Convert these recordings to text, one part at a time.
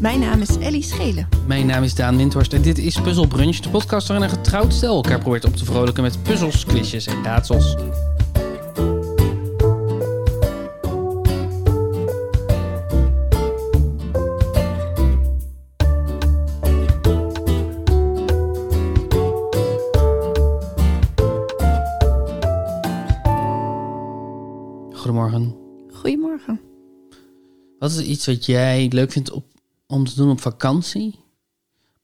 Mijn naam is Ellie Schelen. Mijn naam is Daan Windhorst en dit is Puzzle Brunch, de podcast waarin een getrouwd stel elkaar probeert op te vrolijken met puzzels, quizjes en raadsels. Goedemorgen. Goedemorgen. Wat is iets wat jij leuk vindt op, om te doen op vakantie,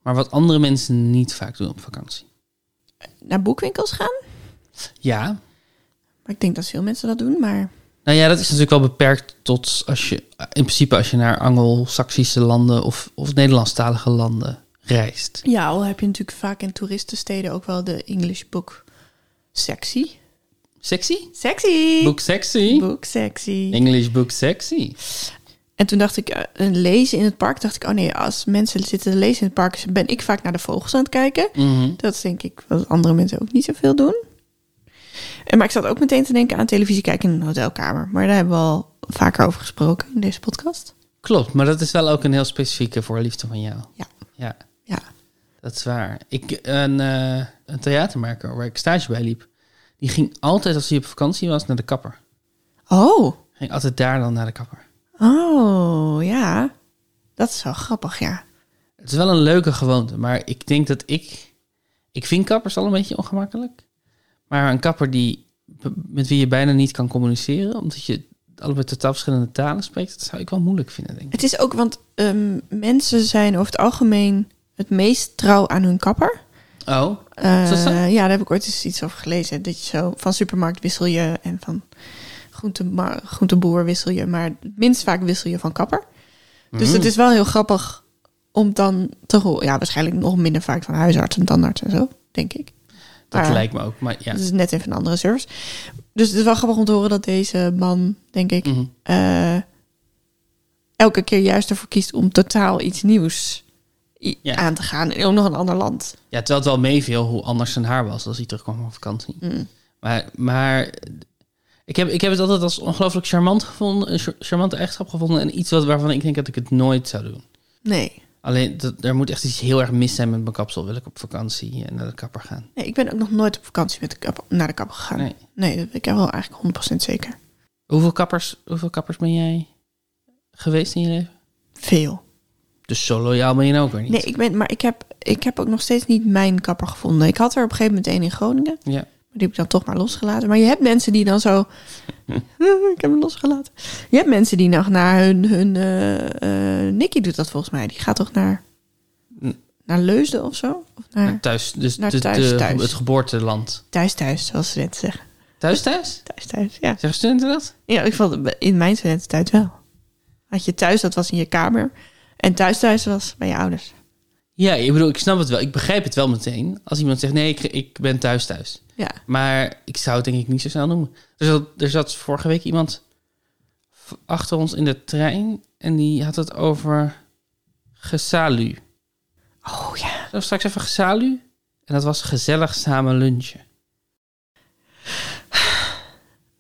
maar wat andere mensen niet vaak doen op vakantie? Naar boekwinkels gaan? Ja, Maar ik denk dat veel mensen dat doen, maar Nou ja, dat is natuurlijk wel beperkt tot als je in principe als je naar Anglo-Saxische landen of, of Nederlandstalige landen reist. ja, al heb je natuurlijk vaak in toeristensteden ook wel de English book sexy. Sexy? Sexy! Boek sexy? Book sexy. English book sexy. En toen dacht ik, eh, een lezen in het park, dacht ik, oh nee, als mensen zitten te lezen in het park, ben ik vaak naar de vogels aan het kijken. Mhm. Dat is denk ik wat andere mensen ook niet zoveel doen. En, maar ik zat ook meteen te denken aan televisie kijken in een hotelkamer. Maar daar hebben we al vaker over gesproken in deze podcast. Klopt, maar dat is wel ook een heel specifieke voorliefde van jou. Ja. Ja, Ja. dat is waar. Ik, een, eh, een theatermaker waar ik stage bij liep, die ging altijd als hij op vakantie was naar de kapper. Oh, Ging altijd daar dan naar de kapper. oh ja. Dat is wel grappig, ja. Het is wel een leuke gewoonte, maar ik denk dat ik... Ik vind kappers al een beetje ongemakkelijk. Maar een kapper die, met wie je bijna niet kan communiceren... omdat je allebei totaal verschillende talen spreekt... dat zou ik wel moeilijk vinden, denk ik. Het is ook, want ehm, mensen zijn over het algemeen het meest trouw aan hun kapper. Oh, Eh, Is dat zo? ja, daar heb ik ooit eens iets over gelezen. Dat je zo van supermarkt wissel je en van groentema- groenteboer wissel je, maar het minst vaak wissel je van kapper. Dus Mm. het is wel heel grappig om dan te horen. Ja, waarschijnlijk nog minder vaak van huisarts en tandarts en zo, denk ik. dat Maar lijkt me ook. Maar ja, Dat is net even een andere service. Dus het is wel grappig om te horen dat deze man, denk ik, Mhm. eh, elke keer juist ervoor kiest om totaal iets nieuws i- Ja. aan te gaan. En ook nog een ander land. ja terwijl het wel meeviel hoe anders zijn haar was... als hij terugkwam van vakantie. Mm. Maar, maar ik, heb, ik heb het altijd als ongelooflijk charmant gevonden... een char- charmante eigenschap gevonden... en iets wat, waarvan ik denk dat ik het nooit zou doen. Nee. Alleen, dat, er moet echt iets heel erg mis zijn met mijn kapsel... wil ik op vakantie en naar de kapper gaan. Nee, ik ben ook nog nooit op vakantie met de kap, naar de kapper gegaan. Nee. Nee. dat ben ik wel eigenlijk 100% zeker. Hoeveel kappers, hoeveel kappers ben jij geweest in je leven? Veel. Dus zo loyaal ben je nou ook weer niet. Nee, ik ben, maar ik heb, ik heb ook nog steeds niet mijn kapper gevonden. Ik had er op een gegeven moment één in Groningen. Ja. Maar die heb ik dan toch maar losgelaten. Maar je hebt mensen die dan zo... ik heb hem losgelaten. Je hebt mensen die nog naar hun... hun eh, eh, Nicky doet dat volgens mij. Die gaat toch naar... N- Naar Leusden of zo? Of Naar naar thuis, dus Naar de- thuis, de- thuis. het geboorteland. thuis thuis, zoals ze net zeggen. Thuis thuis? Thuis thuis, ja. Zeggen studenten dat? Ja, ik vond het in mijn studententijd wel. Had je thuis, dat was in je kamer. En thuis thuis was bij je ouders. Ja, ik bedoel, ik snap het wel. Ik begrijp het wel meteen. Als iemand zegt, nee, ik, ik ben thuis thuis. Ja. Maar ik zou het denk ik niet zo snel noemen. Er zat, er zat vorige week iemand v- achter ons in de trein. En die had het over gesalu. Oh ja. Zullen we straks even gesalu? En dat was gezellig samen lunchen.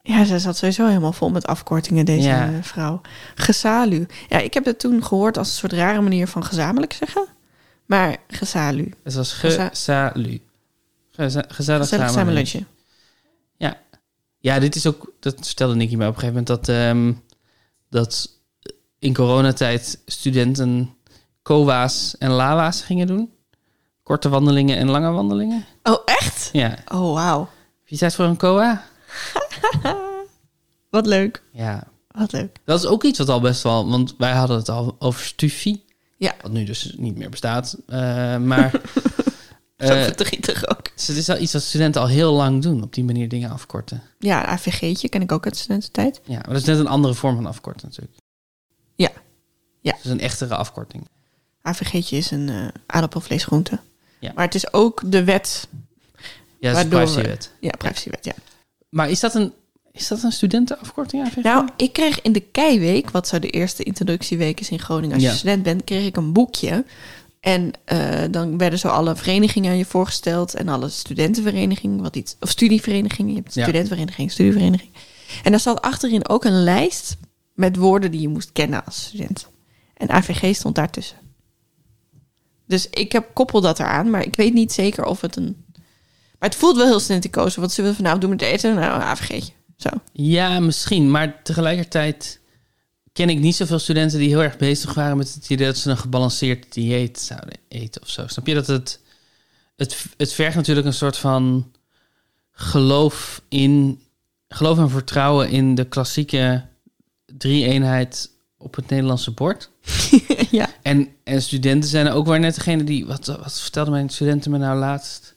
Ja, ze zat sowieso helemaal vol met afkortingen, deze Ja. eh, vrouw. Gesalu. Ja, ik heb dat toen gehoord als een soort rare manier van gezamenlijk zeggen. Maar gesalu. Het was Geza- gesalu. Geza- gezellig Gezellig samen. samen lunchen. lunchen. Ja, dit is ook, dat vertelde Nicky mij op een gegeven moment, dat, ehm, dat in coronatijd studenten kowa's en lawa's gingen doen. Korte wandelingen en lange wandelingen. Oh, echt? Ja. Heb Oh, wauw. je tijd voor een koa? Wat leuk. Ja. Wat leuk. Dat is ook iets wat al best wel, want wij hadden het al over stufie. Ja. Wat nu dus niet meer bestaat. eh, maar Zo eh, verdrietig ook. dus het is wel iets wat studenten al heel lang doen, op die manier dingen afkorten. Ja, een AVG'tje ken ik ook uit studententijd. Ja, maar dat is net een andere vorm van afkorten natuurlijk. Ja. Ja. Dat is een echtere afkorting. AVG'tje is een eh aardappelvleesgroente. Ja. Maar het is ook de wet. Ja, dat is de Waardoor we- privacywet. Ja, privacywet, ja. Maar is dat een, is dat een studentenafkorting? AVG? Nou, ik kreeg in de Keiweek, wat zo de eerste introductieweek is in Groningen als Ja. je student bent, kreeg ik een boekje. En eh, dan werden zo alle verenigingen aan je voorgesteld en alle studentenverenigingen, wat iets, of studieverenigingen. Je hebt Ja. studentenvereniging, studievereniging. En daar zat achterin ook een lijst met woorden die je moest kennen als student. En AVG stond daartussen. Dus ik heb, koppel dat eraan, maar ik weet niet zeker of het een... Maar het voelt wel heel slinterkozen. Wat zullen we vanavond doen met eten? Nou, een AVG'tje. Zo. Ja, misschien. Maar tegelijkertijd ken ik niet zoveel studenten die heel erg bezig waren met het idee dat ze een gebalanceerd dieet zouden eten of zo. Snap je dat het. Het, het vergt natuurlijk een soort van geloof in. Geloof en vertrouwen in de klassieke drie-eenheid op het Nederlandse bord. ja. En, en studenten zijn ook weer net degene die. Wat, wat vertelde mijn studenten me nou laatst?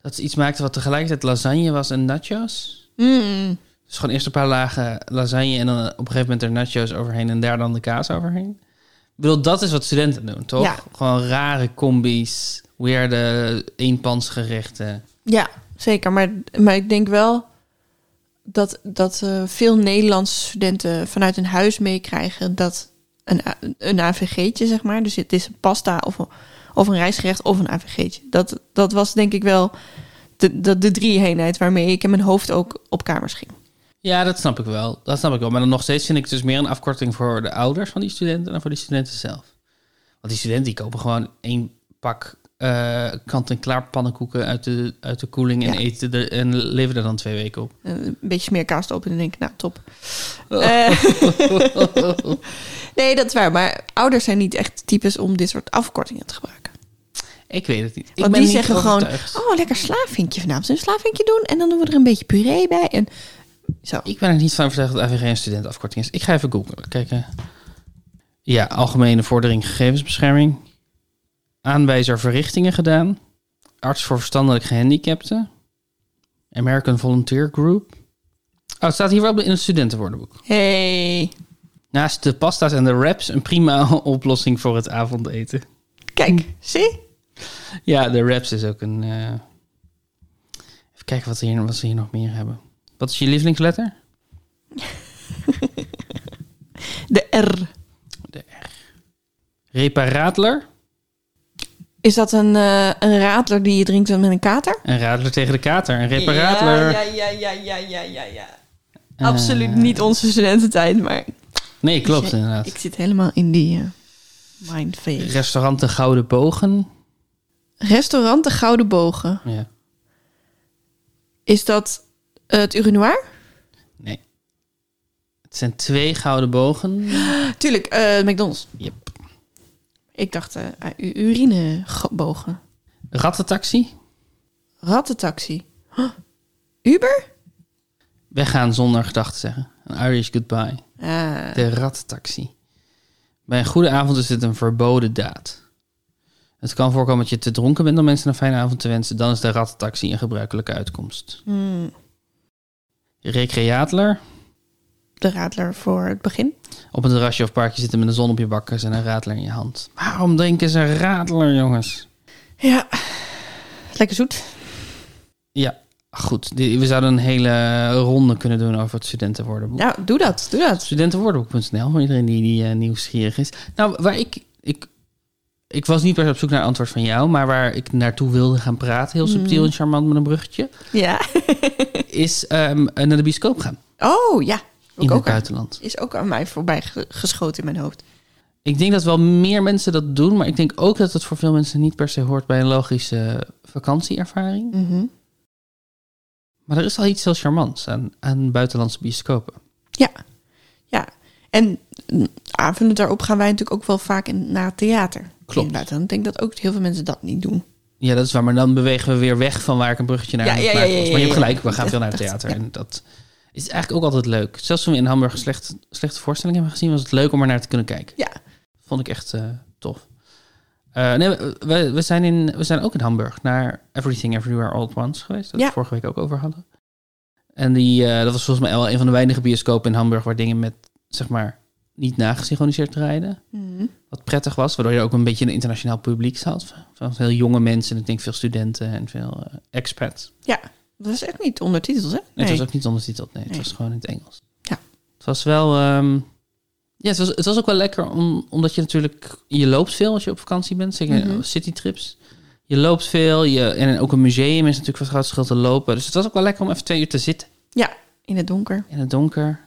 Dat ze iets maakten wat tegelijkertijd lasagne was en nachos. Mm. Dus gewoon eerst een paar lagen lasagne en dan op een gegeven moment er nachos overheen en daar dan de kaas overheen. Ik bedoel, dat is wat studenten doen, toch? Ja. Gewoon rare combi's, weerde eenpansgerechten. Ja, zeker. Maar, maar ik denk wel dat, dat eh, veel Nederlandse studenten vanuit hun huis meekrijgen dat een, A- een AVG'tje, zeg maar. Dus het is een pasta of een, of een rijstgerecht of een AVG'tje. Dat, dat was denk ik wel de, de, de drie-eenheid waarmee ik in mijn hoofd ook op kamers ging. Ja, dat snap ik wel. Dat snap ik wel. Maar dan nog steeds vind ik het dus meer een afkorting voor de ouders van die studenten dan voor die studenten zelf. Want die studenten die kopen gewoon één pak eh, kant-en-klaar pannenkoeken uit de, uit de koeling en Ja. eten er, en leveren er dan twee weken op. Eh, Een beetje meer kaas op en dan denk ik, nou, top. Eh, nee, dat is waar. Maar ouders zijn niet echt types om dit soort afkortingen te gebruiken. Ik weet het niet. Ik Want die ben niet zeggen gewoon, overtuigd. oh, lekker slaafvinkje vanavond. Zullen we een slaafvinkje doen? En dan doen we er een beetje puree bij. En zo. Ik ben er niet van overtuigd dat AVG een studentenafkorting is. Ik ga even googlen. Kijken. Ja, algemene vordering gegevensbescherming. Aanwijzer verrichtingen gedaan. Arts voor verstandelijk gehandicapten. American Volunteer Group. Oh, het staat hier wel in het studentenwoordenboek. hey, Naast de pasta's en de wraps een prima oplossing voor het avondeten. kijk, zie? Ja, de wraps is ook een... eh, Even kijken wat, we hier, wat ze hier nog meer hebben. Wat is je lievelingsletter? De R. Reparaatler. Is dat een, eh, een radler die je drinkt met een kater? Een radler tegen de kater. Een reparaatler. Ja, ja, ja, ja, ja, ja, ja. Eh, Absoluut niet onze studententijd, maar... Nee, klopt inderdaad. Ik zit helemaal in die eh mindface. Restaurant De Gouden Bogen. Restaurant De Gouden Bogen. Ja. Is dat eh, het urinoir? Nee. Het zijn twee Gouden Bogen. Tuurlijk, eh, McDonald's. Yep. Ik dacht, eh ah, u- urinebogen. Rattentaxi. Rattentaxi. Huh. Uber? Weggaan zonder gedachten zeggen. Een Irish goodbye. Ah, De rattaxi. Bij een goede avond is dit een verboden daad. Het kan voorkomen dat je te dronken bent om mensen een fijne avond te wensen. Dan is de rattaxi een gebruikelijke uitkomst. hmm, Recreatler. de radler voor het begin. Op een terrasje of parkje zitten met de zon op je bakkers en een ratler in je hand. Waarom drinken ze ratler, jongens? Ja, lekker zoet. Ja, goed. Die- We zouden een hele ronde kunnen doen over het studentenwoordenboek. Nou, doe dat, doe dat. Studentenwoordenboek.nl, voor iedereen die, die eh, nieuwsgierig is. Nou, waar ik, ik... Ik was niet per se op zoek naar een antwoord van jou... maar waar ik naartoe wilde gaan praten... heel subtiel Hmm. en charmant met een bruggetje... Ja. is ehm, naar de bioscoop gaan Oh, ja. Wil in Ik het ook aan- buitenland. is ook aan mij voorbij ge- geschoten in mijn hoofd. Ik denk dat wel meer mensen dat doen... maar ik denk ook dat het voor veel mensen niet per se hoort... bij een logische vakantieervaring. Mhm. Maar er is al iets heel charmants aan, aan buitenlandse bioscopen. En mm, avonden daarop gaan wij natuurlijk ook wel vaak in, naar het theater. Klopt. Inderdaad, dan denk ik dat ook heel veel mensen dat niet doen. Ja, dat is waar. Maar dan bewegen we weer weg van waar ik een bruggetje naar Ja, aan het ja, ja, maken was. ja, Maar je hebt ja, gelijk, we ja. gaan veel naar het Dat- theater. ja. En dat is eigenlijk ook altijd leuk. Zelfs toen we in Hamburg slecht, slechte voorstellingen hebben gezien, was het leuk om er naar te kunnen kijken. Ja. Vond ik echt eh, tof. Eh, nee, we- we, we, zijn in, we zijn ook in Hamburg naar Everything Everywhere All At Once geweest. Dat we Ja. het vorige week ook over hadden. En die, eh, dat was volgens mij wel een van de weinige bioscopen in Hamburg waar dingen met, zeg maar, niet nagesynchroniseerd rijden Mhm. wat prettig was, waardoor je ook een beetje een internationaal publiek had. Van heel jonge mensen, ik denk veel studenten en veel eh, expats. Dat was echt niet ondertiteld, hè? Nee, Het was ook niet ondertiteld, nee, het Nee. was gewoon in het Engels. Ja. Het was wel, ehm, ja, het was, het was ook wel lekker, om, omdat je natuurlijk, je loopt veel als je op vakantie bent, zeker Mhm. eh, citytrips. Je loopt veel, je, en ook een museum is natuurlijk wat groot schil te lopen. Dus het was ook wel lekker om even twee uur te zitten In het donker. in het donker.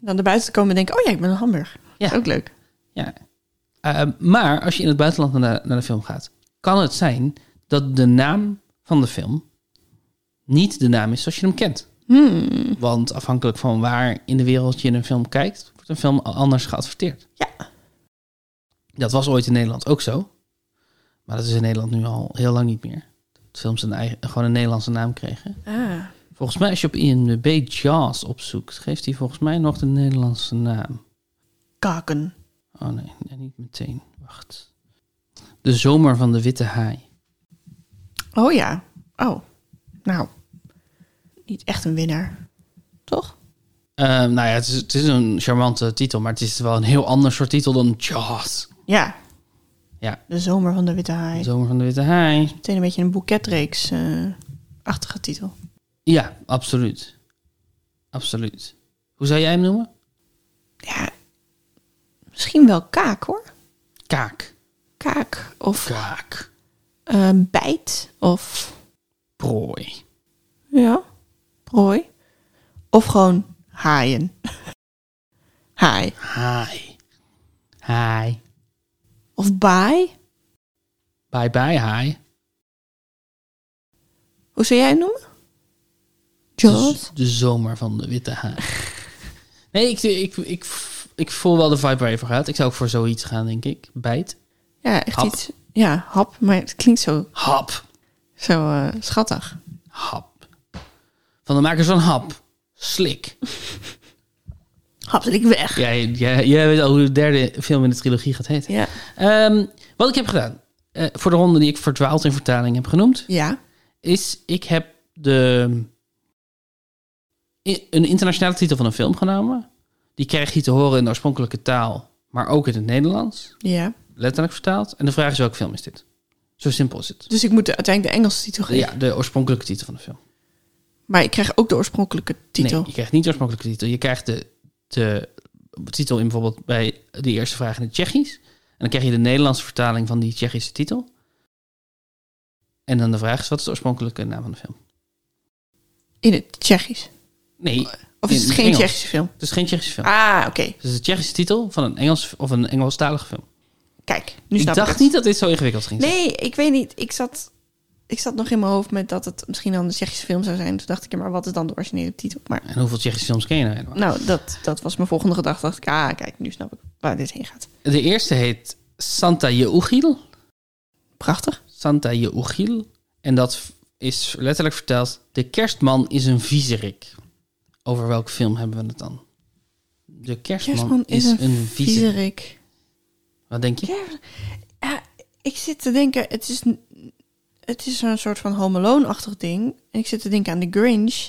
Dan naar buiten te komen en denken, oh ja, ik ben een Hamburg. Ja. Ook leuk. Ja. Eh, maar als je in het buitenland naar de, naar de film gaat, kan het zijn dat de naam van de film niet de naam is zoals je hem kent. Hmm. Want afhankelijk van waar in de wereld je een film kijkt, wordt een film al anders geadverteerd. Ja. Dat was ooit in Nederland ook zo. Maar dat is in Nederland nu al heel lang niet meer. Dat films een eigen, gewoon een Nederlandse naam kregen. Ah. Volgens mij als je op IMDb Jaws opzoekt, geeft hij volgens mij nog de Nederlandse naam. Kaken. Oh nee, nee, niet meteen. Wacht. De zomer van de witte haai. Oh ja. Oh. Nou. Niet echt een winnaar. Toch? Ehm, nou ja, het is, het is een charmante titel, maar het is wel een heel ander soort titel dan Jaws. Ja. Ja. De zomer van de Witte De Haai. zomer van de witte haai. Meteen een beetje een boeketreeks-achtige titel. Ja, absoluut. Absoluut. Hoe zou jij hem noemen? Ja. Misschien wel kaak hoor. Kaak. Kaak. Of Kaak. eh, bijt. Of Prooi. Ja, prooi. Of gewoon haaien. Haai. Haai. Haai. Of baai. Bye bye haai. Hoe zou jij het noemen? De, Jaws. de zomer van de witte haai. Nee, ik, ik, ik, ik voel wel de vibe waar je voor gaat. Ik zou ook voor zoiets gaan, denk ik. Bijt. Ja, echt Hap. iets. Ja, hap. Maar het klinkt zo, Hap. zo eh, schattig. Hap. Van de makers van Hap. Slik. Hap ik weg. Jij, jij, jij weet al hoe de derde film in de trilogie gaat heten. Ja. Ehm, wat ik heb gedaan, eh, voor de ronde die ik verdwaald in vertaling heb genoemd, Ja. is ik heb de, i- een internationale titel van een film genomen. Die krijg je te horen in de oorspronkelijke taal, maar ook in het Nederlands. Ja. Letterlijk vertaald. En de vraag is welke film is dit? Zo simpel is het. Dus ik moet de- uiteindelijk de Engelse titel geven. Ja, de oorspronkelijke titel van de film. Maar ik krijg ook de oorspronkelijke titel. Nee, je krijgt niet de oorspronkelijke titel. Je krijgt de, de titel in bijvoorbeeld bij de eerste vraag in het Tsjechisch. En dan krijg je de Nederlandse vertaling van die Tsjechische titel. En dan de vraag is, wat is de oorspronkelijke naam van de film? In het Tsjechisch. Nee, Of is In het geen Engels. Tsjechische film? het is geen Tsjechische film. Oh. Ah, oké. Het is de Tsjechische titel van een Engels of een Engelstalige film. Kijk, nu ik snap dacht ik het. niet dat dit zo ingewikkeld ging zijn. Nee, ik weet niet. Ik zat, ik zat nog in mijn hoofd met dat het misschien dan een Tsjechische film zou zijn. Toen dacht ik, ja, maar wat is dan de originele titel? Maar En hoeveel Tsjechische films ken je nou helemaal? nou, dat, dat was mijn volgende gedachte. Dacht ik, ah, kijk, nu snap ik waar dit heen gaat. De eerste heet Santa Jeugil. Prachtig. Santa Jeugil. En dat v- is letterlijk verteld... De kerstman is een viezerik. Over welke film hebben we het dan? De kerstman, Kerstman is, een, viezerik. Viezerik. Wat denk je? Kerst- Ja, ik zit te denken, het is, n- het is zo'n soort van Home Alone-achtig ding. En ik zit te denken aan de Grinch.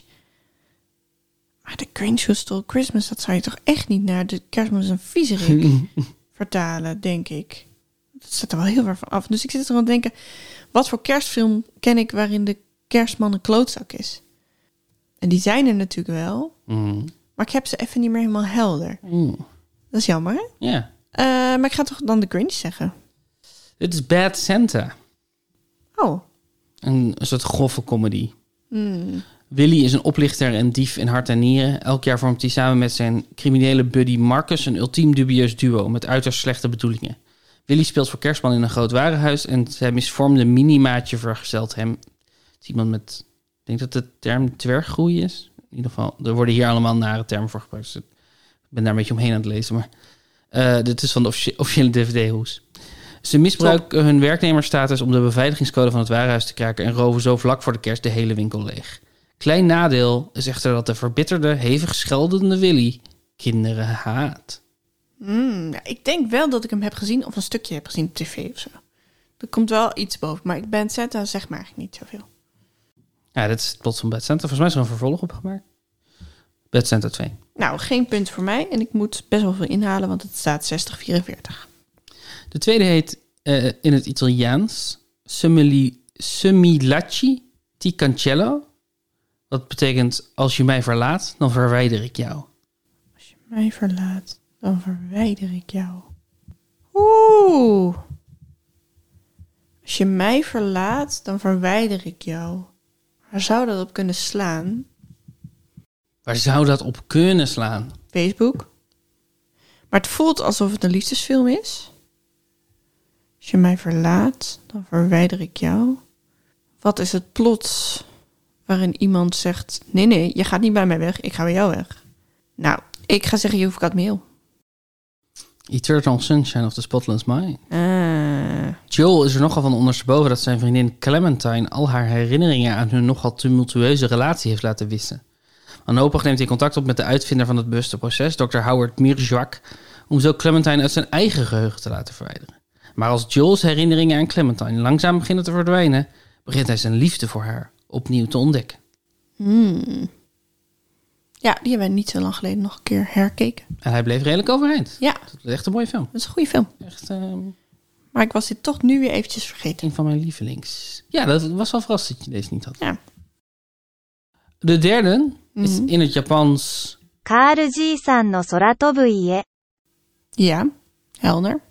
Maar de Grinch Who Stole Christmas, dat zou je toch echt niet naar de kerstman is een viezerik vertalen, denk ik. Dat staat er wel heel ver van af. Dus ik zit er aan te denken, wat voor kerstfilm ken ik waarin de kerstman een klootzak is? En die zijn er natuurlijk wel, Mm. maar ik heb ze even niet meer helemaal helder. Mm. Dat is jammer, hè? Ja. Eh, maar ik ga toch dan de Grinch zeggen. Dit is Bad Santa. Oh, Een soort grove comedy. hmm. Willy is een oplichter en dief in hart en nieren. Elk jaar vormt hij samen met zijn criminele buddy Marcus een ultiem dubieus duo met uiterst slechte bedoelingen. Willy speelt voor kerstman in een groot warenhuis en zijn misvormde minimaatje vergezelt hem. Het is iemand met, ik denk dat de term dwerggroei is. In ieder geval, er worden hier allemaal nare termen voor gebruikt. dus ik ben daar een beetje omheen aan het lezen, maar eh, dit is van de officie- officiële DVD-hoes. Ze misbruiken hun werknemersstatus om de beveiligingscode van het warenhuis te kraken en roven zo vlak voor de kerst de hele winkel leeg. Klein nadeel is echter dat de verbitterde, hevig scheldende Willy kinderen haat. Hmm, ja, ik denk wel dat ik hem heb gezien of een stukje heb gezien op tv of zo. Er komt wel iets boven, maar ik ben Santa zeg maar eigenlijk niet zoveel. Ja, dat is het plot van Bad Santa. Volgens mij is er een vervolg opgemaakt. Bad Santa 2. Nou, geen punt voor mij en ik moet best wel veel inhalen, want het staat 60-44. De tweede heet eh, in het Italiaans Semili- Semilacci ti cancello. Dat betekent, als je mij verlaat, dan verwijder ik jou. Als je mij verlaat, dan verwijder ik jou. Oeh. Als je mij verlaat, dan verwijder ik jou. Waar zou dat op kunnen slaan? Waar zou dat op kunnen slaan? Facebook? Maar Maar het voelt alsof het een liefdesfilm is. Als je mij verlaat, dan verwijder ik jou. Wat is het plot waarin iemand zegt: Nee, nee, je gaat niet bij mij weg, ik ga bij jou weg? Nou, ik ga zeggen: You've got mail. Eternal Sunshine of the Spotless Mind. Ah, Joel is er nogal van ondersteboven dat zijn vriendin Clementine al haar herinneringen aan hun nogal tumultueuze relatie heeft laten wissen. Wanhopig neemt hij contact op met de uitvinder van het bewuste proces, Dr. Howard Mirjak, om zo Clementine uit zijn eigen geheugen te laten verwijderen. Maar als Joel's herinneringen aan Clementine langzaam beginnen te verdwijnen, begint hij zijn liefde voor haar opnieuw te ontdekken. hmm. Ja, die hebben we niet zo lang geleden nog een keer herkeken. En hij bleef redelijk overeind. Ja, dat Dat is echt een mooie film. is een goede film. Echt ehm, Maar ik was dit toch nu weer eventjes vergeten. een van mijn lievelings. Ja, dat was wel verrast dat je deze niet had. Ja. De derde is Mhm. in het Japans カール爺さんの空飛ぶ家。 Ja, helder.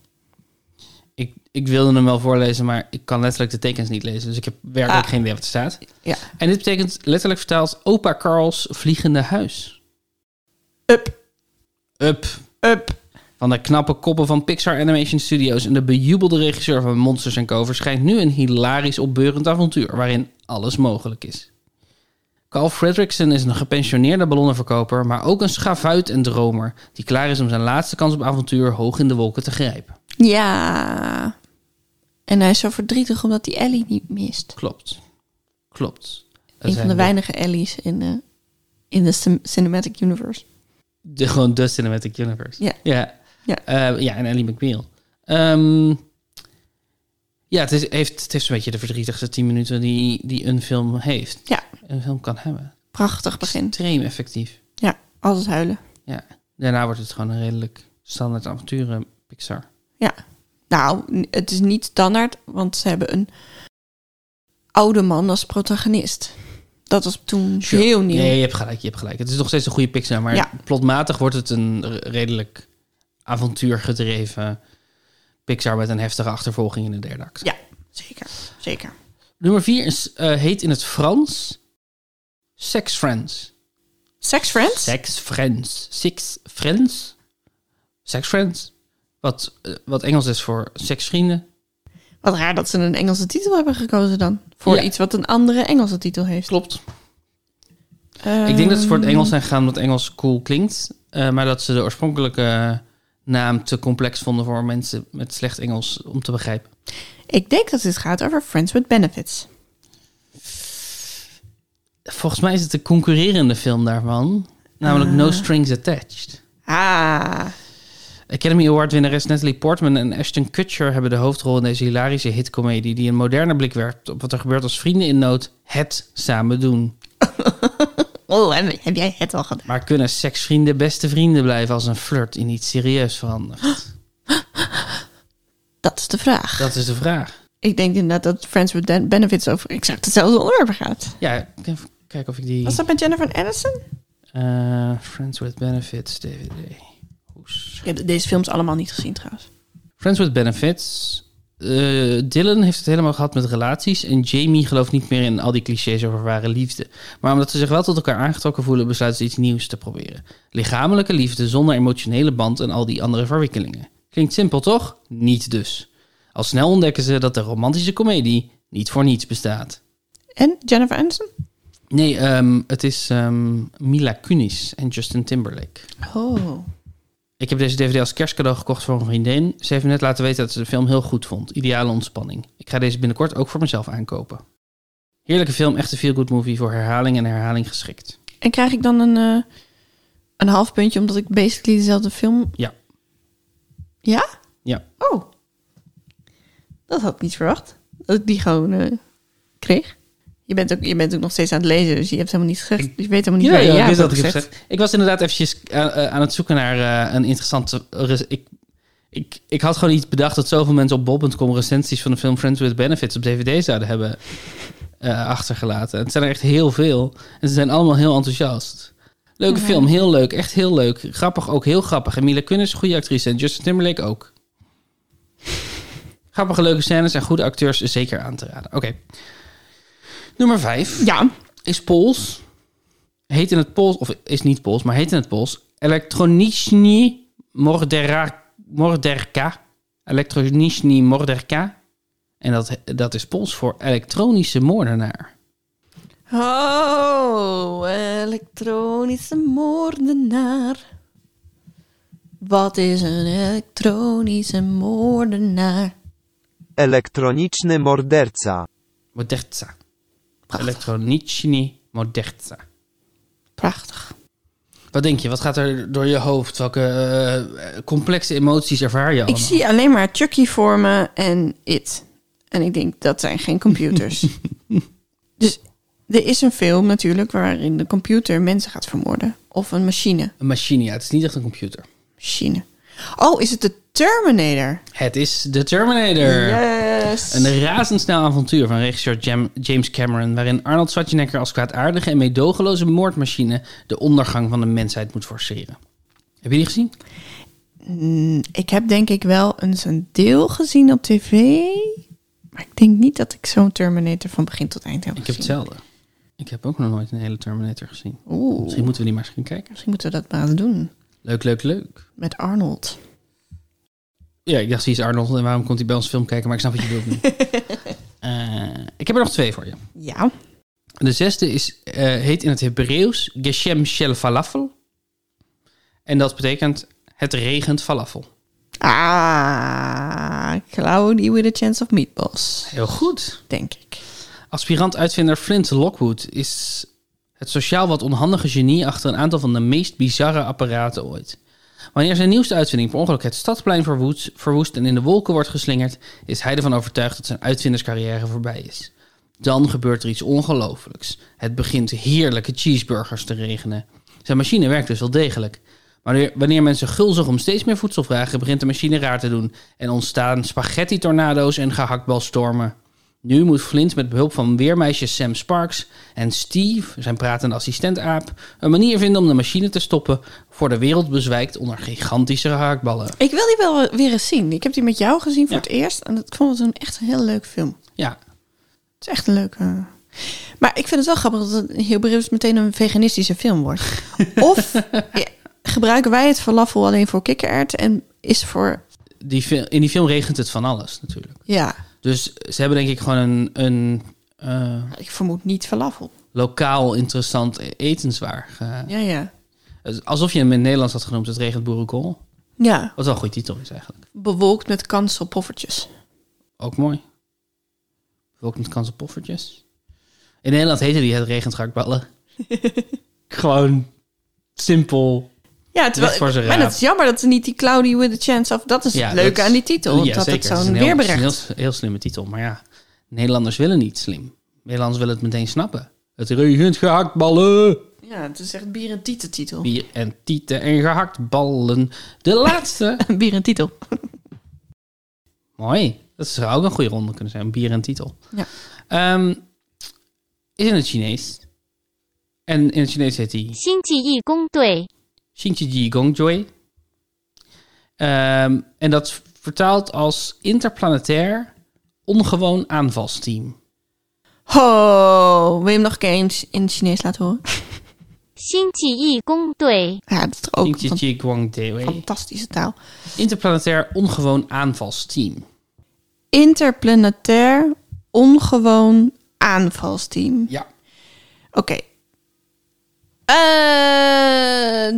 Ik, ik wilde hem wel voorlezen, maar ik kan letterlijk de tekens niet lezen. Dus ik heb werkelijk Ah. geen idee wat er staat. Ja. En dit betekent letterlijk vertaald opa Karls vliegende huis. Up, Up. up. Van de knappe koppen van Pixar Animation Studios en de bejubelde regisseur van Monsters Co. verschijnt nu een hilarisch opbeurend avontuur waarin alles mogelijk is. Carl Fredrickson is een gepensioneerde ballonnenverkoper, maar ook een schavuit en dromer die klaar is om zijn laatste kans op avontuur hoog in de wolken te grijpen. Ja. En hij is zo verdrietig omdat hij Ellie niet mist. Klopt. Klopt. Dat een van zijn de weinige Ellie's in de, in de cin- Cinematic Universe. De, gewoon de Cinematic Universe. Ja. Ja, Ja. Eh, ja en Ellie McBeal. Ehm, ja, het, is, heeft, het is een beetje de verdrietigste 10 minuten die, die een film heeft. Ja. Een film kan hebben. Prachtig begin. Extreem effectief. Ja, altijd huilen. Ja. Daarna wordt het gewoon een redelijk standaard avonturen Pixar. Nou, n- het is niet standaard, want ze hebben een oude man als protagonist. Dat was toen Sure. heel nieuw. Nee, je hebt gelijk, je hebt gelijk. Het is nog steeds een goede Pixar, maar Ja. plotmatig wordt het een re- redelijk avontuurgedreven Pixar met een heftige achtervolging in de derde act. Ja, zeker. Zeker. Nummer 4 is, eh, heet in het Frans Sex Friends. Sex Friends? Sex Friends. Six Friends? Sex Friends. Wat, eh, wat Engels is voor seksvrienden. Wat raar dat ze een Engelse titel hebben gekozen dan. Voor Ja. iets wat een andere Engelse titel heeft. Ehm, Klopt. Ehm. Ik denk dat ze voor het Engels zijn gegaan omdat Engels cool klinkt. eh, maar dat ze de oorspronkelijke naam te complex vonden voor mensen met slecht Engels om te begrijpen. Ik denk dat dit gaat over Friends with Benefits. Volgens mij is het de concurrerende film daarvan. Namelijk No Strings Attached. Ah, Academy Award-winnares Natalie Portman en Ashton Kutcher hebben de hoofdrol in deze hilarische hitcomedie die een moderne blik werpt op wat er gebeurt als vrienden in nood het samen doen. oh, heb heb jij het al gedaan? Maar kunnen seksvrienden beste vrienden blijven als een flirt in iets serieus verandert? Dat is de vraag. Dat is de vraag. Ik denk inderdaad dat Friends with Dan- Benefits over exact hetzelfde onderwerp gaat. Ja, even kijken of ik die... Was dat met Jennifer Aniston? Eh, Friends with Benefits, DVD. Hoes. Ik heb deze films allemaal niet gezien trouwens. Friends with Benefits. Eh, Dylan heeft het helemaal gehad met relaties. En Jamie gelooft niet meer in al die clichés over ware liefde. Maar omdat ze zich wel tot elkaar aangetrokken voelen, besluiten ze iets nieuws te proberen: lichamelijke liefde zonder emotionele band en al die andere verwikkelingen. Klinkt simpel, toch? Niet dus. Al snel ontdekken ze dat de romantische komedie niet voor niets bestaat. En Jennifer Aniston? Nee, ehm, het is ehm, Mila Kunis en Justin Timberlake. Oh. Ik heb deze DVD als kerstcadeau gekocht voor een vriendin. Ze heeft me net laten weten dat ze de film heel goed vond. Ideale ontspanning. Ik ga deze binnenkort ook voor mezelf aankopen. Heerlijke film, echte feel-good movie voor herhaling en herhaling geschikt. En krijg ik dan een, eh, een half puntje omdat ik basically dezelfde film... Ja. Ja? Ja. Oh. Dat had ik niet verwacht. Dat ik die gewoon eh, kreeg. Je bent, ook, je bent ook nog steeds aan het lezen, dus je hebt helemaal niet gezegd. Dus je weet helemaal niet waar je ja, hebt ik heb gezegd. gezegd. Ik was inderdaad eventjes eh, eh, aan het zoeken naar eh, een interessante... res- ik, ik, ik had gewoon iets bedacht dat zoveel mensen op bol.com recensies van de film Friends with Benefits op DVD zouden hebben eh, achtergelaten. Het zijn er echt heel veel. En ze zijn allemaal heel enthousiast. Leuke Ja. film, heel leuk. Echt heel leuk. Grappig ook, heel grappig. En Mila Kunis, goede actrice. En Justin Timberlake ook. Grappige, leuke scènes en goede acteurs zeker aan te raden. Oké. Nummer vijf Ja. is Pools. Heet in het Pools, of is niet Pools, maar heet in het Pools. Elektroniczny Mordera, Morderka, Elektronischny Morderka. En dat, dat is Pools voor elektronische moordenaar. Oh, elektronische moordenaar. Wat is een elektronische moordenaar? Elektroniczny morderca. Moderza. Elektronischny Moderza. Prachtig. Wat denk je? Wat gaat er door je hoofd? Welke eh, complexe emoties ervaar je Ik allemaal? zie alleen maar Chucky voor me en It. En ik denk, dat zijn geen computers. dus er is een film natuurlijk waarin de computer mensen gaat vermoorden. Of een machine. Een machine, ja. Het is niet echt een computer. Machine. Oh, is het de Terminator? Het is de Terminator. Yes. Een razendsnel avontuur van regisseur Jam- James Cameron... waarin Arnold Schwarzenegger als kwaadaardige en meedogenloze moordmachine... de ondergang van de mensheid moet forceren. Heb je die gezien? Mm, Ik heb denk ik wel eens een deel gezien op tv. Maar ik denk niet dat ik zo'n Terminator van begin tot eind heb Ik heb gezien. hetzelfde. Ik heb ook nog nooit een hele Terminator gezien. Oeh, Misschien moeten we die maar eens gaan kijken. misschien moeten we dat maar eens doen. Leuk, leuk, leuk. Met Arnold. Ja, ik dacht, die is Arnold en waarom komt hij bij ons film kijken? Maar ik snap wat je bedoelt nu. Eh, ik heb er nog twee voor je. Ja. De zesde is, eh, heet in het Hebreeuws Geshem Shel Falafel. En dat betekent het regent falafel. Ah, Cloudy with a Chance of Meatballs. Heel goed. Denk ik. Aspirant-uitvinder Flint Lockwood is het sociaal wat onhandige genie achter een aantal van de meest bizarre apparaten ooit. Wanneer zijn nieuwste uitvinding per ongeluk het stadsplein verwoest, verwoest en in de wolken wordt geslingerd, is hij ervan overtuigd dat zijn uitvinderscarrière voorbij is. Dan gebeurt er iets ongelooflijks. Het begint heerlijke cheeseburgers te regenen. Zijn machine werkt dus wel degelijk. Maar wanneer- wanneer mensen gulzig om steeds meer voedsel vragen, begint de machine raar te doen en ontstaan spaghetti-tornado's en gehaktbalstormen. Nu moet Flint met behulp van weermeisje Sam Sparks en Steve, zijn pratende assistent-aap, een manier vinden om de machine te stoppen voor de wereld bezwijkt onder gigantische haakballen. Ik wil die wel weer eens zien. Ik heb die met jou gezien voor het eerst. En dat vond ik een echt een heel leuk film. Ja, Het is echt een leuke... Maar ik vind het wel grappig dat het heel bewust meteen een veganistische film wordt. Of ja, gebruiken wij het falafel alleen voor kikkererwt en is voor... die fil- in die film regent het van alles natuurlijk. Ja, Dus ze hebben denk ik gewoon een, een eh, ik vermoed niet falafel. lokaal interessant e-, etenswaar. ge- Ja, ja. Alsof je hem in het Nederlands had genoemd, het regent boerenkool. Ja, Wat wel een goede titel is eigenlijk. bewolkt met kans op poffertjes. Ook mooi. Ook met kans op poffertjes. In Nederland heette die het regent gehaktballen. Gewoon simpel. Ja, Ligt voor zijn terwijl, maar raap. dat is jammer dat ze niet die Cloudy with a Chance of... Dat is Ja, het leuke dat- aan die titel, Ja, dat zeker. het zo'n is een heel- weerbericht... Heel, heel, slimme titel, maar ja. Nederlanders willen niet slim. Nederlanders willen het meteen snappen. Het regent gehaktballen. Ja, het is echt bier en titel titel. Bier en tieten en gehaktballen. De laatste. Bier en titel. Mooi. Dat zou ook een goede ronde kunnen zijn. Bier en titel. Ja. Ehm, is in het Chinees. En in het Chinees heet die 新奇义工队， Xingqiji Gongjoy. Ehm en dat vertaalt als interplanetair ongewoon aanvalsteam. Ho, wil je hem nog een keer in, in het Chinees laten horen? 新奇义工队， Ja, dat is toch ook een Xingqiji Guangdewe. fantastische taal. Interplanetair ongewoon aanvalsteam. Interplanetair ongewoon aanvalsteam. Ja. Oké. Eh,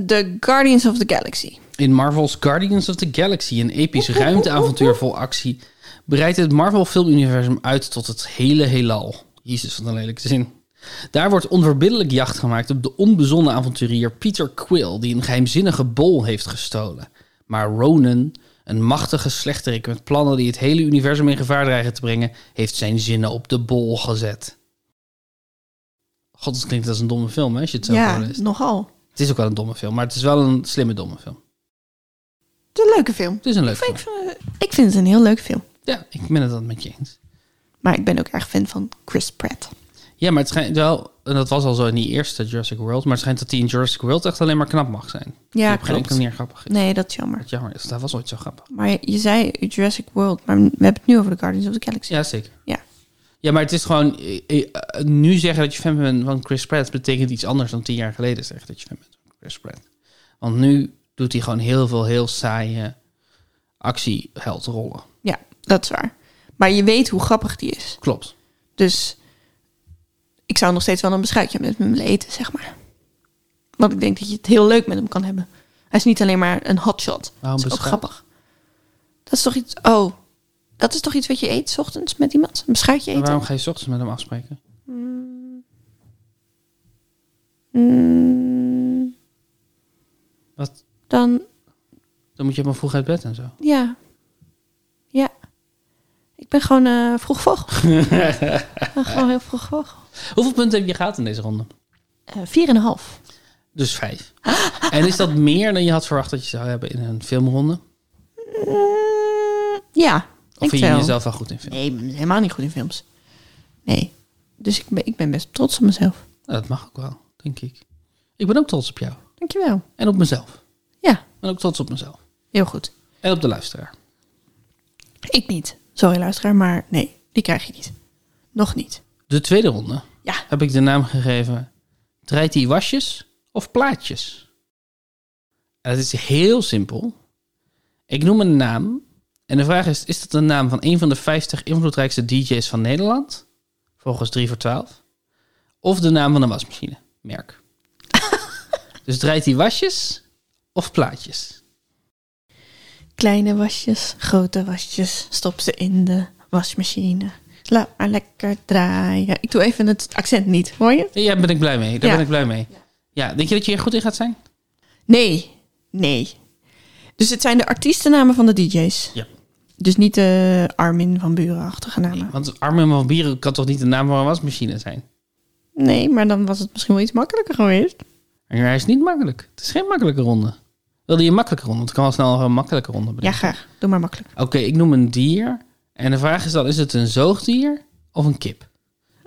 the Guardians of the Galaxy. In Marvel's Guardians of the Galaxy, een episch ruimteavontuur vol actie, breidt het Marvel-filmuniversum uit tot het hele heelal. Jezus, wat een lelijke zin. Daar wordt onverbiddelijk jacht gemaakt op de onbezonnen avonturier Peter Quill, die een geheimzinnige bol heeft gestolen. Maar Ronan, een machtige slechterik met plannen die het hele universum in gevaar dreigen te brengen, heeft zijn zinnen op de bol gezet. God, dat klinkt als een domme film, hè, als je het zo ja, voorleest. nogal. Het is ook wel een domme film, maar het is wel een slimme domme film. Het is een leuke film. Het is een leuk Ik film. vind, ik vind- ik vind het een heel leuk film. Ja, ik ben het dan met je eens. Maar ik ben ook erg fan van Chris Pratt. Ja, maar het schijnt wel, en dat was al zo in die eerste Jurassic World, maar het schijnt dat hij in Jurassic World echt alleen maar knap mag zijn. Die Ja, op geen enkele klopt. manier grappig is. Nee, dat is jammer. Wat jammer is, dat was ooit zo grappig. Maar je, je zei Jurassic World, maar we hebben het nu over de Guardians of the Galaxy. Ja, zeker. Ja. Ja, maar het is gewoon, eh, eh, eh, nu zeggen dat je fan bent van Chris Pratt betekent iets anders dan tien jaar geleden zeggen dat je fan bent van Chris Pratt. Want nu doet hij gewoon heel veel heel saaie actieheldrollen. Ja, dat is waar. Maar je weet hoe grappig die is. Klopt. Dus ik zou nog steeds wel een beschuitje met hem willen eten, zeg maar. Want ik denk dat je het heel leuk met hem kan hebben. Hij is niet alleen maar een hotshot. Waarom dat is ook beschuit? grappig. Dat is toch iets... Oh, dat is toch iets wat je eet 's ochtends met iemand? Een beschuitje Maar eten? waarom ga je 's ochtends met hem afspreken? Mm, Wat? dan, Dan moet je helemaal vroeg uit bed en zo. ja. Ja. Ik ben gewoon eh, vroeg vogel. ik ben gewoon heel vroeg vogel. Hoeveel punten heb je gehad in deze ronde? Eh, vier en een half. Dus vijf. en is dat meer dan je had verwacht dat je zou hebben in een filmronde? Mm, ja, Of ik vind je wel. jezelf wel goed in film? Nee, ik ben helemaal niet goed in films. Nee. Dus ik ben, ik ben best trots op mezelf. Nou, dat mag ook wel, denk ik. Ik ben ook trots op jou. Dankjewel. En op mezelf. Ja, Ik ben ook trots op mezelf. heel goed. En op de luisteraar. Ik niet. Sorry luisteraar, maar nee, die krijg je niet. Nog niet. De tweede ronde Ja. heb ik de naam gegeven... Draait hij wasjes of plaatjes? En het is heel simpel. Ik noem een naam. En de vraag is, is dat de naam van een van de 50 invloedrijkste DJ's van Nederland? Volgens 3 voor 12. Of de naam van een wasmachine, merk. dus draait hij wasjes of plaatjes? Kleine wasjes, grote wasjes. Stop ze in de wasmachine. Laat maar lekker draaien. Ik doe even het accent niet, hoor je? Ja, daar ben ik blij mee. Daar Ja. ben ik blij mee. Ja, denk je dat je er goed in gaat zijn? Nee, nee. Dus het zijn de artiestennamen van de DJ's. Ja. Dus niet de Armin van Buren-achtige namen. Want Armin van Buren kan toch niet de naam van een wasmachine zijn? Nee, maar dan was het misschien wel iets makkelijker geweest. En hij is niet makkelijk. Het is geen makkelijke ronde. Wilde je een makkelijke ronde? Want ik kan wel snel een makkelijke ronde Ja, bedenken. graag. Doe maar makkelijk. Oké, ik noem een dier. En de vraag is dan, is het een zoogdier of een kip?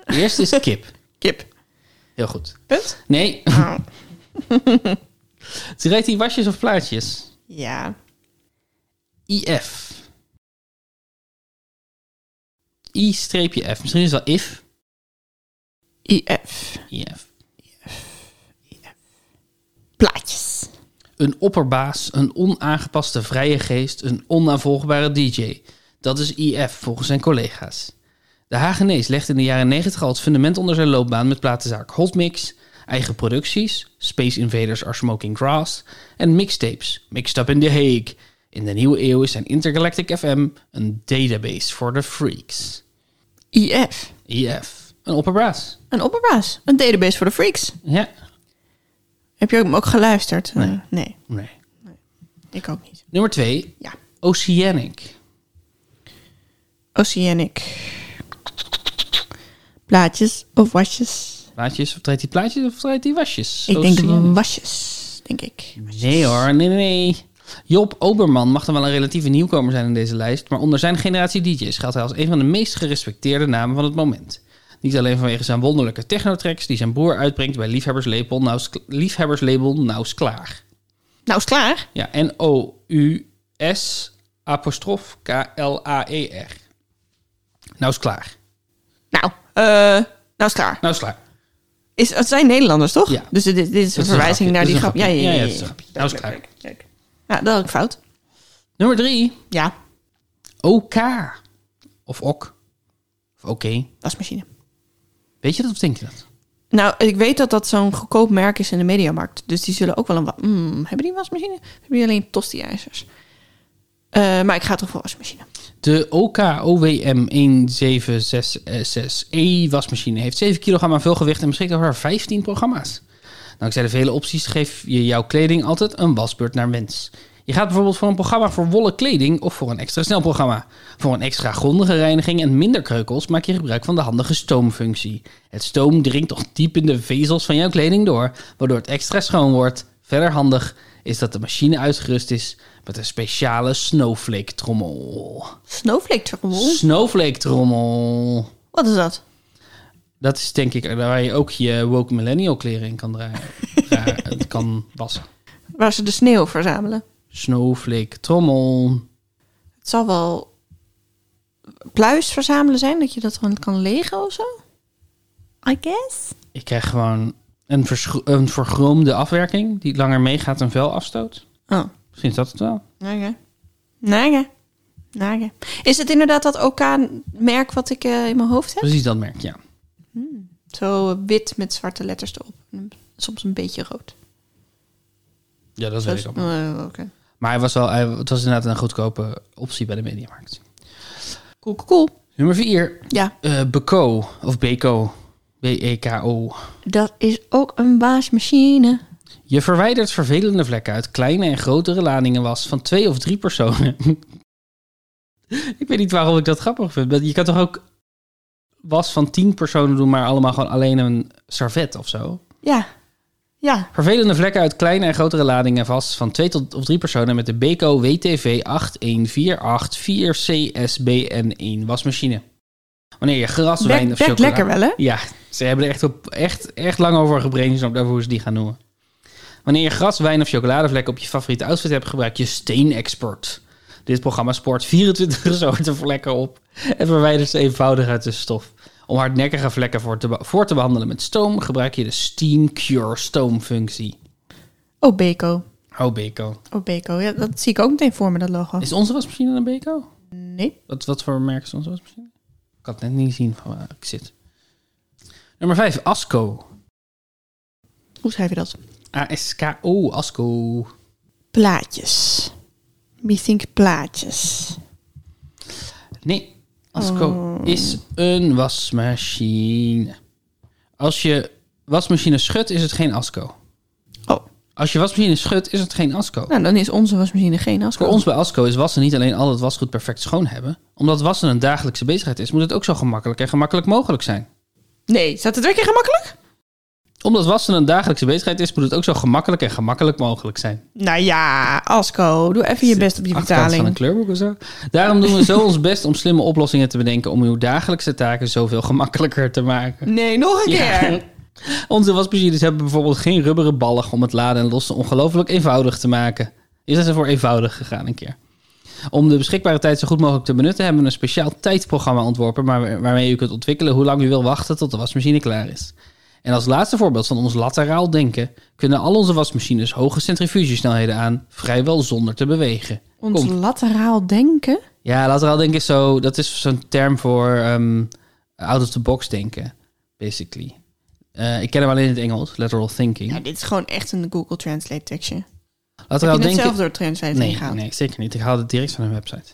De eerste is kip. Kip. Heel goed. Punt. Nee, ze rijdt die wasjes of plaatjes. Ja. IF. I-F. Misschien is het wel if. IF. IF. Plaatjes. Een opperbaas, een onaangepaste vrije geest, een onnavolgbare DJ. Dat is IF volgens zijn collega's. De Hagenees legde in de jaren 90 al het fundament onder zijn loopbaan met platenzaak Hotmix, eigen producties, Space Invaders are Smoking Grass en mixtapes, Mixed Up in The Hague. In de nieuwe eeuw is zijn Intergalactic FM een database voor de freaks. IF. IF, een opperbaas. Een opperbaas. Een database voor de freaks. Ja, Heb je hem ook geluisterd? Nee. nee, nee. ik ook niet. Nummer 2, Ja. Oceanic. Oceanic. Plaatjes of wasjes? Plaatjes, of draait hij plaatjes of draait hij wasjes? Ik denk Oceanic. wasjes, denk ik. Nee hoor, nee, nee, nee. Job Oberman mag dan wel een relatieve nieuwkomer zijn in deze lijst, maar onder zijn generatie DJ's geldt hij als een van de meest gerespecteerde namen van het moment. Niet alleen vanwege zijn wonderlijke technotracks die zijn broer uitbrengt bij liefhebberslabel Nauws, liefhebberslabel Nauws Klaar. Nou, is klaar. Ja, N-O-U-S apostrof K-L-A-E-R. Nauws Klaar. Nou, eh, nou is klaar. Nauws Klaar. Is, het zijn Nederlanders, toch? Ja. Dus dit, dit is een is een verwijzing grapje, naar dit die is een grap. Ja, ja, grapje. ja. Ja, ja, ja, het is een grapje. Nou, is Leuk, leuk, leuk. Nou, dat had ik fout. Nummer drie, Ja, OK. Of OK. Of oké. wasmachine. Weet je dat of denk je dat? Nou, ik weet dat dat zo'n goedkoop merk is in de mediamarkt. Dus die zullen ook wel een... wa- Mm, hebben die wasmachine? Hebben die alleen tosti-ijzers? Eh, maar ik ga toch voor wasmachine. De OKOWM 1766E eh, E wasmachine heeft 7 kilogram aan vulgewicht en beschikt over haar 15 programma's. Dankzij de vele opties geef je jouw kleding altijd een wasbeurt naar wens. Je gaat bijvoorbeeld voor een programma voor wollen kleding of voor een extra snel programma. Voor een extra grondige reiniging en minder kreukels maak je gebruik van de handige stoomfunctie. Het stoom dringt toch diep in de vezels van jouw kleding door, waardoor het extra schoon wordt. Verder handig is dat de machine uitgerust is met een speciale snowflake trommel. Snowflake trommel. Snowflake trommel. Wat is dat? Dat is denk ik waar je ook je woke millennial kleren in kan draaien. Ja, het kan wassen. Waar ze de sneeuw verzamelen. Snowflake trommel. Het zal wel pluis verzamelen zijn, dat je dat dan kan legen of zo? I guess. Ik krijg gewoon een, verschro- een vergroomde afwerking die langer meegaat dan vuil afstoot. Oh, Misschien is dat het wel. oké. Naga. Naga. Is het inderdaad dat OK-merk wat ik eh, in mijn hoofd heb? Precies dat merk, ja. Zo eh, wit met zwarte letters erop. Soms een beetje rood. Ja, dat Zo weet is- ik ook. eh, oké. Maar hij was wel, hij, het was inderdaad een goedkope optie bij de mediamarkt. Cool, cool, cool. Nummer 4. Ja, Beko, of Beko. E B-E-K-O. dat is ook een waasmachine. Je verwijdert vervelende vlekken uit kleine en grotere ladingen was van twee of drie personen. ik weet niet waarom ik dat grappig vind. maar Je kan toch ook was van tien personen doen, maar allemaal gewoon alleen een servet of zo? Ja. Ja. Vervelende vlekken uit kleine en grotere ladingen vast van twee tot of drie personen met de Beko WTV 81484CSBN1 wasmachine. Wanneer je gras, wijn Bek, of bek chocola... lekker wel, hè? Ja, ze hebben er echt, op, echt, echt lang over gebrainstormd over hoe ze die gaan noemen. Wanneer je gras, wijn of chocoladevlekken op je favoriete outfit hebt, gebruik je steenexport. Dit programma spoort 24 soorten vlekken op en verwijdert ze eenvoudig uit de stof. Om hardnekkige vlekken voor te, be- voor te behandelen met stoom gebruik je de Steam Cure Stoom functie. Oh, Beko. Oh, Beko. Oh, Beko. Ja, dat zie ik ook meteen voor me, dat logo. Is onze wasmachine een Beko? Nee. Wat, wat voor merk is onze wasmachine? Ik had net niet zien van waar ik zit. Nummer 5, Asco. Hoe schrijf je dat? A-S-K-O, Asco. Plaatjes. Think plaatjes. Nee, Asco Oh. is een wasmachine. Als je wasmachine schudt, is het geen Asco. Oh. Als je wasmachine schudt, is het geen Asco. Nou, dan is onze wasmachine geen Asco. Voor ons bij Asco is wassen niet alleen al het wasgoed perfect schoon hebben. Omdat wassen een dagelijkse bezigheid is, moet het ook zo gemakkelijk en gemakkelijk mogelijk zijn. Nee, staat het weer keer gemakkelijk? Omdat wassen een dagelijkse bezigheid is, moet het ook zo gemakkelijk en gemakkelijk mogelijk zijn. Nou ja, Asco, doe even je best op die Achterkant van een betaling. kleurboek of zo. Daarom doen we zo ons best om slimme oplossingen te bedenken om uw dagelijkse taken zoveel gemakkelijker te maken. Nee, nog een keer. Onze wasmachines hebben bijvoorbeeld geen rubberen ballen om het laden en lossen ongelooflijk eenvoudig te maken. Is dat voor eenvoudig gegaan een keer? Om de beschikbare tijd zo goed mogelijk te benutten, hebben we een speciaal tijdprogramma ontworpen maar waarmee u kunt ontwikkelen hoe lang u wil wachten tot de wasmachine klaar is. En als laatste voorbeeld van ons lateraal denken, kunnen al onze wasmachines hoge centrifugesnelheden aan, vrijwel zonder te bewegen. Ons Komt. lateraal denken. Ja, lateraal denken is zo, dat is zo'n term voor ehm, out of the box denken, basically. Eh, ik ken hem alleen in het Engels, lateral thinking. Nou, dit is gewoon echt een Google Translate tekstje. Heb Lateraal je het nou denken. zelf door Translate Nee, ingehaald? nee, zeker niet. Ik haalde het direct van hun website.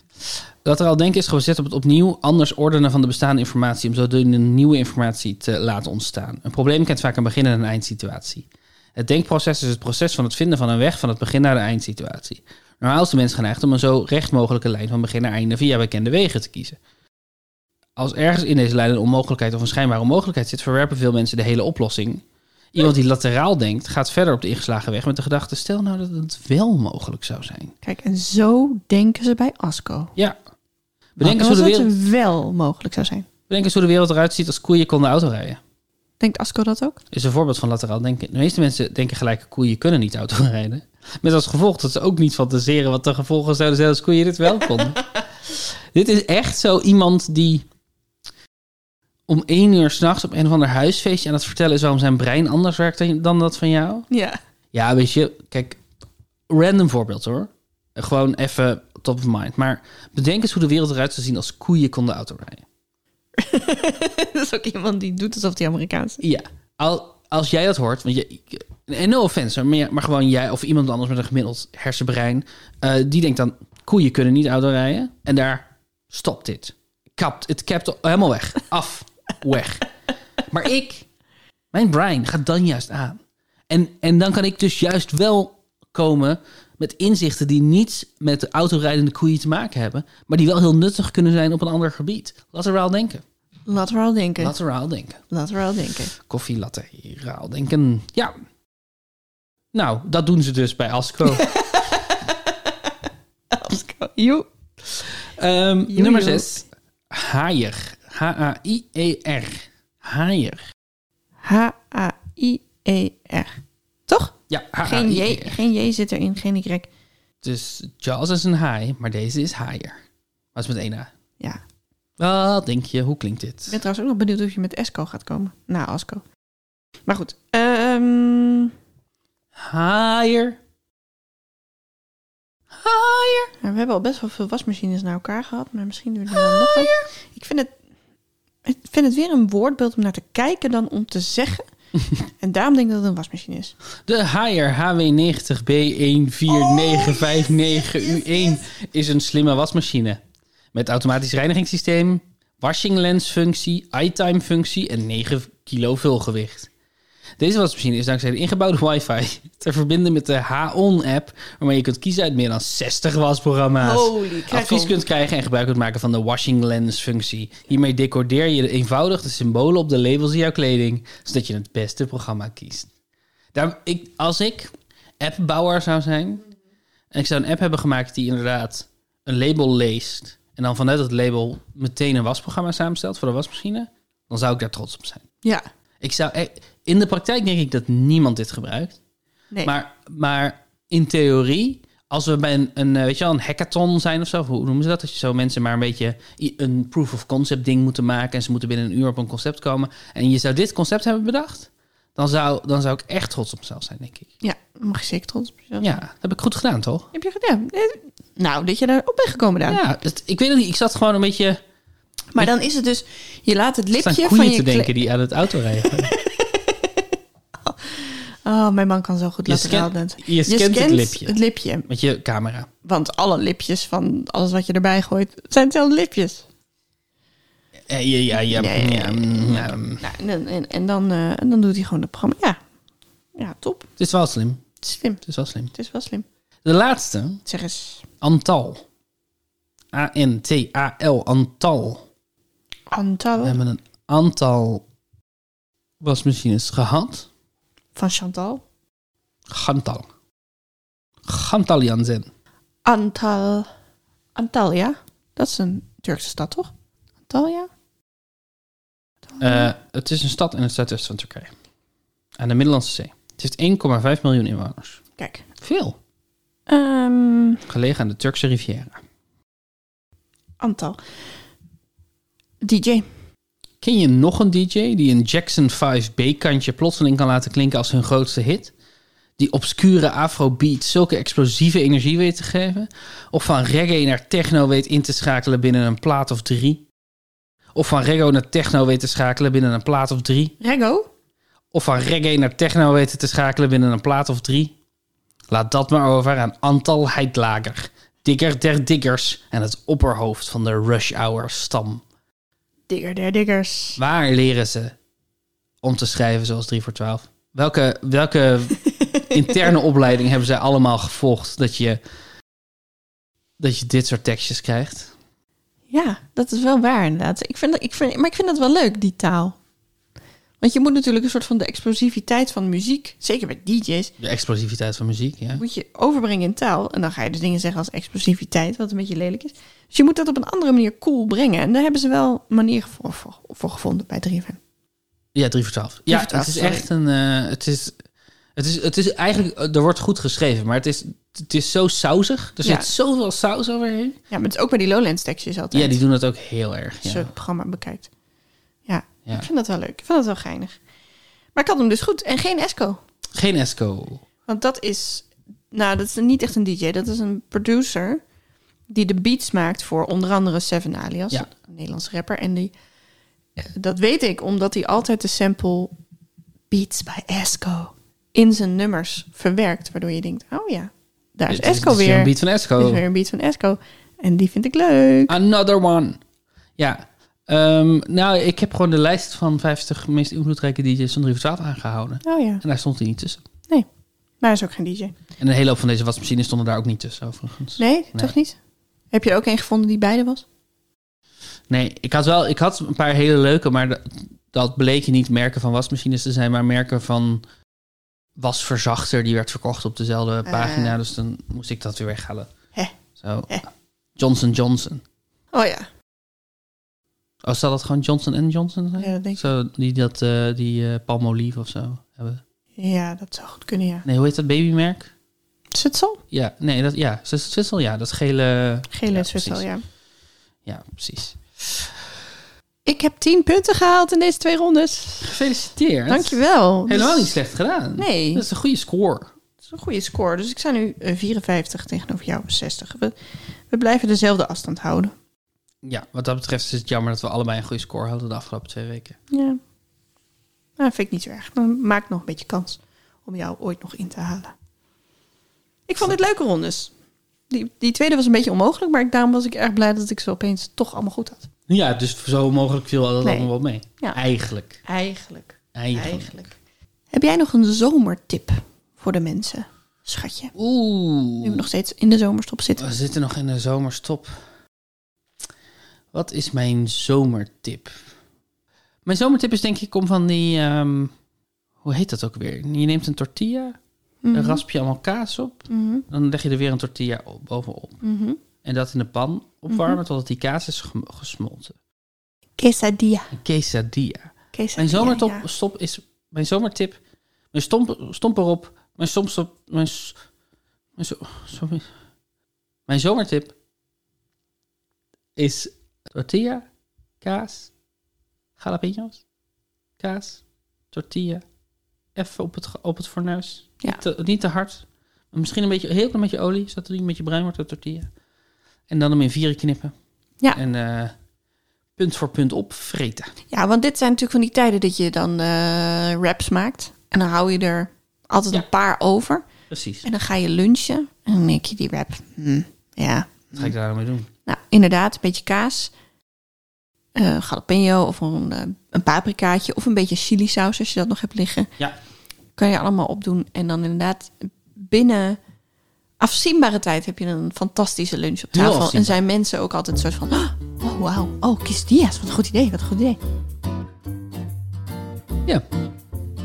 Lateraal denken is gebaseerd op het opnieuw anders ordenen van de bestaande informatie om zodoende nieuwe informatie te laten ontstaan. Een probleem kent vaak een begin- en een eindsituatie. Het denkproces is het proces van het vinden van een weg van het begin naar de eindsituatie. Normaal is de mens geneigd om een zo recht mogelijke lijn van begin naar einde via bekende wegen te kiezen. Als ergens in deze lijn een onmogelijkheid of een schijnbare onmogelijkheid zit, verwerpen veel mensen de hele oplossing. Iemand die lateraal denkt, gaat verder op de ingeslagen weg met de gedachte: stel nou dat het wel mogelijk zou zijn. Kijk, en zo denken ze bij Asco. Ja. Bedenk, Nou, eens hoe, de als wereld, het wel mogelijk zou zijn. bedenk eens hoe de wereld eruit ziet als koeien konden autorijden. Denkt Asco dat ook? Is een voorbeeld van lateraal denken. De meeste mensen denken gelijk, koeien kunnen niet autorijden. Met als gevolg dat ze ook niet fantaseren wat de gevolgen zouden zijn als koeien dit wel konden. dit is echt zo iemand die om één uur s'nachts op een of ander huisfeestje aan het vertellen is waarom zijn brein anders werkt dan- dan dat van jou. Ja. Ja, weet je, kijk, random voorbeeld hoor. Gewoon even top of mind. Maar bedenk eens hoe de wereld eruit zou zien als koeien konden autorijden. dat is ook iemand die doet alsof die Amerikaans is. Ja, al, als jij dat hoort, want je, en no offense, hoor, maar, ja, maar gewoon jij of iemand anders met een gemiddeld hersenbrein, eh, die denkt dan, koeien kunnen niet autorijden. En daar stopt dit. Kapt, het kapt helemaal weg. Af, weg. Maar ik, mijn brein gaat dan juist aan. En, en dan kan ik dus juist wel komen met inzichten die niets met de autorijdende koeien te maken hebben, maar die wel heel nuttig kunnen zijn op een ander gebied. Lateraal denken. Lateraal denken. Lateraal denken Lateraal denken. koffielatte raal denken. Ja. Nou, dat doen ze dus bij Asco. Asco. Joe. Ehm, Joe, nummer joe. 6. Haier. H-A-I-E-R. Haier. H-A-I-E-R. E Toch? Ja, Geen J, H-A-I-E-R. geen J zit erin, geen Y. E Dus Jaws is een haai, maar deze is haier. Maar het is met één A. Ja. Wat denk je? Hoe klinkt Ik dit? ben trouwens ook nog benieuwd of je met Esco gaat komen. Na Asco. Maar goed. Ehm, Haier. Higher. Ja, we hebben al best wel veel wasmachines naar elkaar gehad, maar misschien doen we er Ah, dan nog wat. Ik vind het, ik vind het weer een woordbeeld om naar te kijken dan om te zeggen. en daarom denk ik dat het een wasmachine is. De Higher Oh, HW90B14959U1 is een slimme wasmachine. Met automatisch reinigingssysteem, washing lens functie, eye-time functie en 9 kilo vulgewicht. Deze wasmachine is dankzij de ingebouwde wifi te verbinden met de HON app, waarmee je kunt kiezen uit meer dan 60 wasprogramma's. Holy crackle. Advies kunt krijgen en gebruik kunt maken van de washing lens functie. Hiermee decodeer je eenvoudig de symbolen op de labels in jouw kleding, zodat je het beste programma kiest. Daar, ik, als ik appbouwer zou zijn, en ik zou een app hebben gemaakt die inderdaad een label leest. En dan vanuit dat label meteen een wasprogramma samenstelt voor de wasmachine. Dan zou ik daar trots op zijn. Ja, Ik zou, eh, in de praktijk denk ik dat niemand dit gebruikt. nee. Maar, maar in theorie, als we bij een, een, eh, weet je wel, een hackathon zijn of zo. Hoe noemen ze dat? Dat je zo mensen maar een beetje i- een proof of concept ding moeten maken. En ze moeten binnen een uur op een concept komen. En je zou dit concept hebben bedacht. Dan zou, dan zou ik echt trots op mezelf zijn, denk ik. Ja, daar mag je zeker trots op jezelf Ja, zijn. dat heb ik goed gedaan, toch? Heb je gedaan? Eh, Nou, dat je daarop bent gekomen dan. Ja, dat, ik weet het niet. Ik zat gewoon een beetje Maar dan is het dus, je laat het staan lipje koeien van te je... denken kle- die aan het auto rijden. Oh, mijn man kan zo goed Je lateraal scant- dansen. je scant het lipje. het lipje. Met je camera. Want alle lipjes van alles wat je erbij gooit, zijn hetzelfde lipjes. Eh, ja, ja, ja. Nee. ja, mm, ja, mm. Nou, en, dan- en, en dan, eh, en dan doet hij gewoon het programma. Ja, ja top. Het is wel slim. Het is slim. Het is wel slim. Het is wel slim. De laatste, Zeg eens, Antal. A-N-T-A-L, Antal. Antal We hebben een aantal wasmachines gehad. van Chantal. Gantal. Gantal Jansen. Antal. Antalya. Dat is een Turkse stad, toch? Antalya? Eh, het is een stad in het zuidwesten van Turkije. Aan de Middellandse Zee. Het heeft 1,5 miljoen inwoners. Kijk. Veel. Ehm, Gelegen aan de Turkse riviera. Antal. DJ. Ken je nog een DJ die een Jackson 5B-kantje plotseling kan laten klinken als hun grootste hit? Die obscure afrobeat zulke explosieve energie weet te geven? Of van reggae naar techno weet in te schakelen binnen een plaat of drie? Of van reggae naar techno weet te schakelen binnen een plaat of drie? Rego. Of van reggae naar techno weet te schakelen binnen een plaat of drie? Laat dat maar over aan Antal Heidlager, dikker der dikkers en het opperhoofd van de Rush Hour stam. Digger der diggers. Waar leren ze om te schrijven zoals 3 voor 12? Welke, welke interne opleiding hebben zij allemaal gevolgd dat je, dat je dit soort tekstjes krijgt? Ja, dat is wel waar inderdaad. Ik vind dat, ik vind, maar ik vind dat wel leuk, die taal. Want je moet natuurlijk een soort van de explosiviteit van muziek, zeker bij DJ's, De explosiviteit van muziek, ja. moet je overbrengen in taal. En dan ga je dus dingen zeggen als explosiviteit, wat een beetje lelijk is. Dus je moet dat op een andere manier cool brengen. En daar hebben ze wel een manier voor, voor, voor gevonden bij 3FM. Ja, 3 voor 12. Drie Ja, voor 12, het is sorry. echt een. eh, het, is, het, is, het is eigenlijk. eh, Er wordt goed geschreven, maar het is, het is zo sausig. Er Ja. zit zoveel saus overheen. Ja, maar het is ook bij die Lowlands tekstjes altijd. Ja, die doen dat ook heel erg. Als je Ja. het programma bekijkt. Ja, Ja. ik vind dat wel leuk. Ik vind dat wel geinig. Maar ik had hem dus goed. En geen Esco. Geen Esco. Want dat is... Nou, dat is niet echt een DJ. Dat is een producer die de beats maakt voor onder andere Seven Alias. Ja. Een Nederlands rapper. En die... Dat weet ik omdat hij altijd de sample Beats by Esco in zijn nummers verwerkt. Waardoor je denkt, oh ja, daar is Dus het Esco weer weer. Een beat van Esco. Dit is weer een beat van Esco. En die vind ik leuk. Another one. Ja. Ehm, nou, ik heb gewoon de lijst van 50 meest invloedrijke DJ's van 3 voor 12 aangehouden. Oh ja, En daar stond hij niet tussen. nee. Maar hij is ook geen DJ. En een hele hoop van deze wasmachines stonden daar ook niet tussen, overigens. Nee, toch niet? Heb je er ook een gevonden die beide was? Nee, ik had wel ik had een paar hele leuke, maar dat, dat bleken niet merken van wasmachines te zijn, maar merken van wasverzachter. Die werd verkocht op dezelfde Eh. pagina, dus dan moest ik dat weer weghalen. Hè. Zo. Hè. Johnson Johnson. Oh ja. Oh, zal dat gewoon Johnson Johnson zijn? Ja, dat denk ik. Zo, die dat, eh, die eh palmolive of zo hebben. Ja, dat zou goed kunnen, ja. Nee, hoe heet dat babymerk? Zwitserland? Ja, nee, dat, ja, Zwits- Zwitserland, ja, dat gele... Gele Ja, ja, Zwitserland, ja. Ja, precies. Ik heb 10 punten gehaald in deze twee rondes. Gefeliciteerd. Dankjewel. Helemaal Dus- niet slecht gedaan. Nee. Dat is een goede score. Dat is een goede score. Dus ik sta nu eh, 54 tegenover jou 60. We, we blijven dezelfde afstand houden. Ja, wat dat betreft is het jammer dat we allebei een goede score hadden de afgelopen twee weken. Ja. Nou, vind ik niet zo erg. Dan maak ik nog een beetje kans om jou ooit nog in te halen. Ik vond dit leuke rondes. Die, die tweede was een beetje onmogelijk, maar daarom was ik erg blij dat ik ze opeens toch allemaal goed had. Ja, dus zo mogelijk viel dat Nee. allemaal wel mee. Ja. Eigenlijk. Eigenlijk. Eigenlijk. Heb jij nog een zomertip voor de mensen, schatje? Nu Oeh. we nog steeds in de zomerstop zitten. We zitten nog in de zomerstop. Wat is mijn zomertip? Mijn zomertip is denk ik om van die... ehm, hoe heet dat ook weer? Je neemt een tortilla, Mhm. dan rasp je allemaal kaas op. Mhm, Dan leg je er weer een tortilla op- bovenop. mhm. En dat in de pan opwarmen totdat die kaas is gem- gesmolten. Quesadilla. Een quesadilla. Quesadilla, Mijn zomertop ja. stop is mijn zomertip. Mijn stomp, stomp erop. Mijn stomstop. Mijn, s- mijn, zo- sorry. mijn zomertip is tortilla, kaas, jalapenos, kaas, tortilla. Even op het, ge- op het fornuis. Ja. Niet, te, niet te hard. Maar Misschien een beetje, heel klein beetje olie, zodat het niet een beetje bruin wordt, de tortilla. En dan hem in vieren knippen. Ja. En eh, punt voor punt opvreten. Ja, want dit zijn natuurlijk van die tijden dat je dan eh wraps maakt. En dan hou je er altijd Ja. een paar over. Precies. En dan ga je lunchen. En dan denk je die wrap. hm, ja, Wat ga ik daar nou mee doen? nou inderdaad, een beetje kaas. eh jalapeno of een, eh, een paprikaatje. Of een beetje chilisaus als je dat nog hebt liggen. Ja. Kan je allemaal opdoen. En dan inderdaad binnen afzienbare tijd heb je een fantastische lunch op Heel tafel. En afzienbaar. zijn mensen ook altijd een soort van... Oh, wauw. Oh, quesadillas. Wat een goed idee. Wat een goed idee. Ja,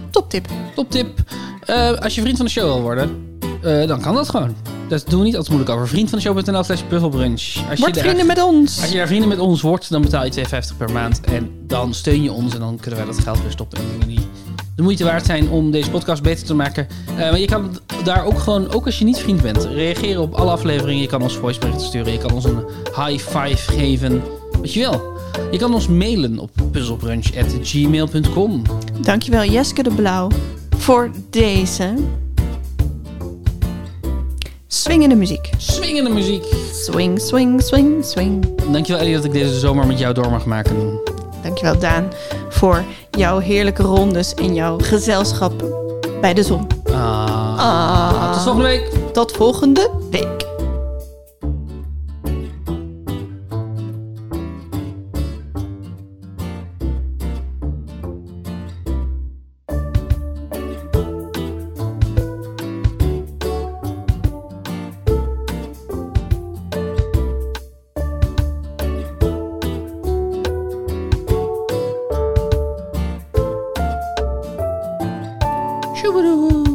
Toptip. toptip. Eh, als je vriend van de show wil worden, eh, dan kan dat gewoon. Dat doen we niet altijd moeilijk over. Vriend van de show.nl slash puzzelbrunch. Als, je Word daar- vrienden met ons. als je daar vrienden met ons wordt, dan betaal je 2,50 per maand. En dan steun je ons en dan kunnen wij dat geld weer stoppen in dingen die de moeite waard zijn om deze podcast beter te maken. Eh, maar je kan daar ook gewoon, ook als je niet vriend bent, reageren op alle afleveringen. Je kan ons voiceberichten sturen, je kan ons een high five geven. Wat je wil. Je kan ons mailen op puzzelbrunch.gmail.com. Dankjewel Jeske de Blauw voor deze swingende muziek. Swingende muziek. Swing, swing, swing, swing. Dankjewel Ellie dat ik deze zomer met jou door mag maken. Dankjewel Daan voor jouw heerlijke rondes en jouw gezelschap bij de zon. Ah. Tot volgende week. Tot volgende week. Sjoebedoe.